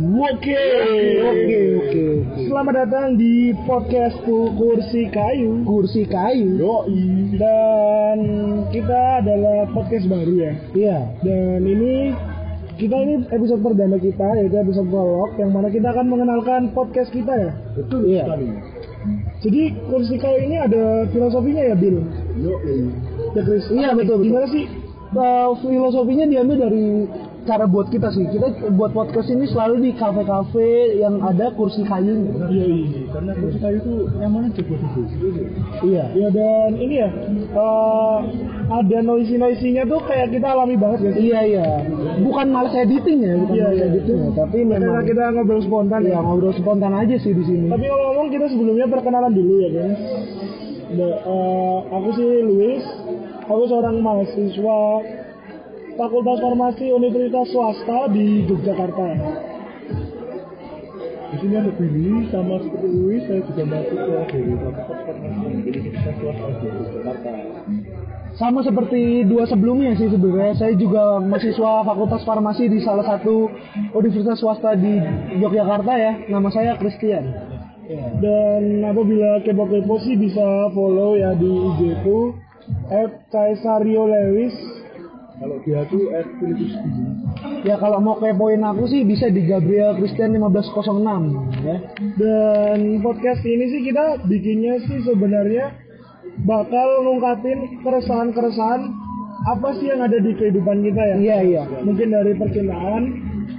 Oke, Oke, oke, oke. Selamat datang di podcast Kursi Kayu. Kursi kayu. Yoi. Dan kita adalah podcast baru ya. Iya. Dan ini kita ini episode perdana kita yaitu episode prolog yang mana kita akan mengenalkan podcast kita ya. Betul Iya. sekali. Jadi Kursi Kayu ini ada filosofinya ya, Bill? Yo, Ya, Chris. Iya, betul, betul. Gimana sih? Eh, filosofinya diambil dari cara buat kita sih. Kita buat podcast ini selalu di kafe-kafe yang ada kursi kayu. Yoi. Iya, Karena kursi kayu itu nyamannya cukup itu. Iya. Ya dan ini ya eh, ada noisy noisinya tuh kayak kita alami banget ya. sih? Iya, iya. Bukan malas editing ya, bukan Iya, malas iya. editing ya, tapi memang Karena kita ngobrol spontan ya ya. ngobrol spontan aja sih di sini. Tapi ngomong-ngomong kita sebelumnya perkenalan dulu ya guys. Nah, eh, aku sih Luis, aku seorang mahasiswa Fakultas Farmasi Universitas Swasta di Yogyakarta. Di sini ada Billy sama seperti Louis, saya juga mahasiswa dari Fakultas Farmasi Universitas Swasta di Jakarta. Sama seperti dua sebelumnya sih sebenarnya. Saya juga mahasiswa Fakultas Farmasi di salah satu universitas swasta di Yogyakarta ya. Nama saya Christian. Iya. Dan apabila kepo-kepo sih bisa follow ya di IG ku @kaisario Lewis. Kalau dia tuh S Filipus Billy. Ya kalau mau kepoin aku sih bisa di Gabriel Christian 1506 ya. Dan podcast ini sih kita bikinnya sih sebenarnya bakal ngungkapin keresahan-keresahan apa sih yang ada di kehidupan kita ya. Iya iya. Mungkin dari percintaan,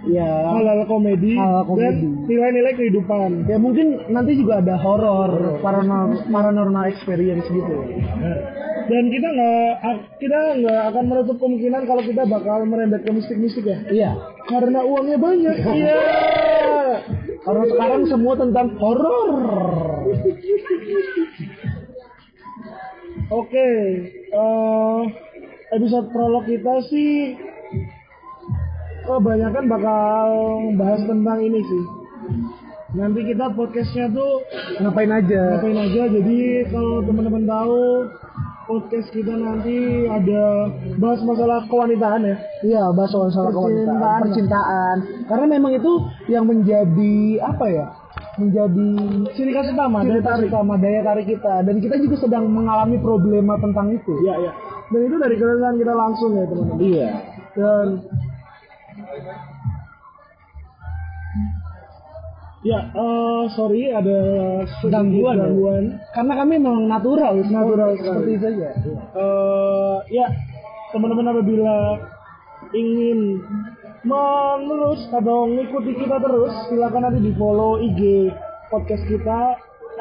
Ya. hal-hal komedi, Hal-hal komedi. dan nilai-nilai kehidupan. Ya mungkin nanti juga ada horor, paranormal, paranormal experience gitu. Ya. Dan kita nggak a- kita nggak akan menutup kemungkinan kalau kita bakal merembet ke mistik-mistik ya. Iya. Karena uangnya banyak. Iya. Karena sekarang semua tentang horor. Oke, eh, episode prolog kita sih kebanyakan bakal bahas tentang ini sih. Nanti kita podcastnya tuh Ngapain aja? ngapain aja. Jadi kalau teman-teman tahu podcast kita nanti ada bahas masalah kewanitaan ya. Iya, bahas soal soal Percintaan. kewanitaan, percintaan. Karena memang itu yang menjadi apa ya? Menjadi Sini kasih utama. ciri dari khas utama daya tarik kita dan kita juga sedang mengalami problema tentang Iya. itu. Ya ya. Dan itu dari keresahan kita langsung ya teman-teman. Iya. Dan ya eh, sorry ada sedikit Gangguan ya? gangguan. Karena kami memang natural, Natural sekali. seperti saja. Eh, ya teman-teman apabila ingin menerus atau mengikuti kita terus silakan nanti di follow IG podcast kita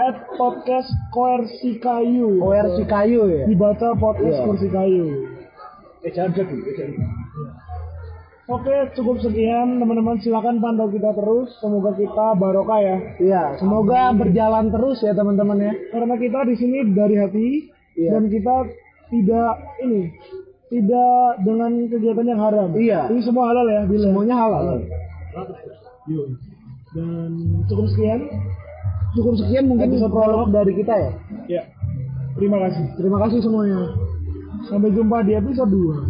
at podcast koersi kayu ORC kayu ya. dibaca podcast Iya. kursi kayu Eh jangan jadi, eh jangan. Oke, cukup sekian teman-teman. Silakan pantau kita terus. Semoga kita barokah ya. Iya, semoga berjalan terus ya teman-teman ya. Karena kita di sini dari hati Iya. dan kita tidak ini tidak dengan kegiatan yang haram. Iya. Ini semua halal ya, bila. Semuanya Iya. halal. Yo. Dan cukup sekian. Cukup sekian mungkin Episode prolog dari kita ya. Ya. Terima kasih. Terima kasih semuanya. Sampai jumpa di episode 2.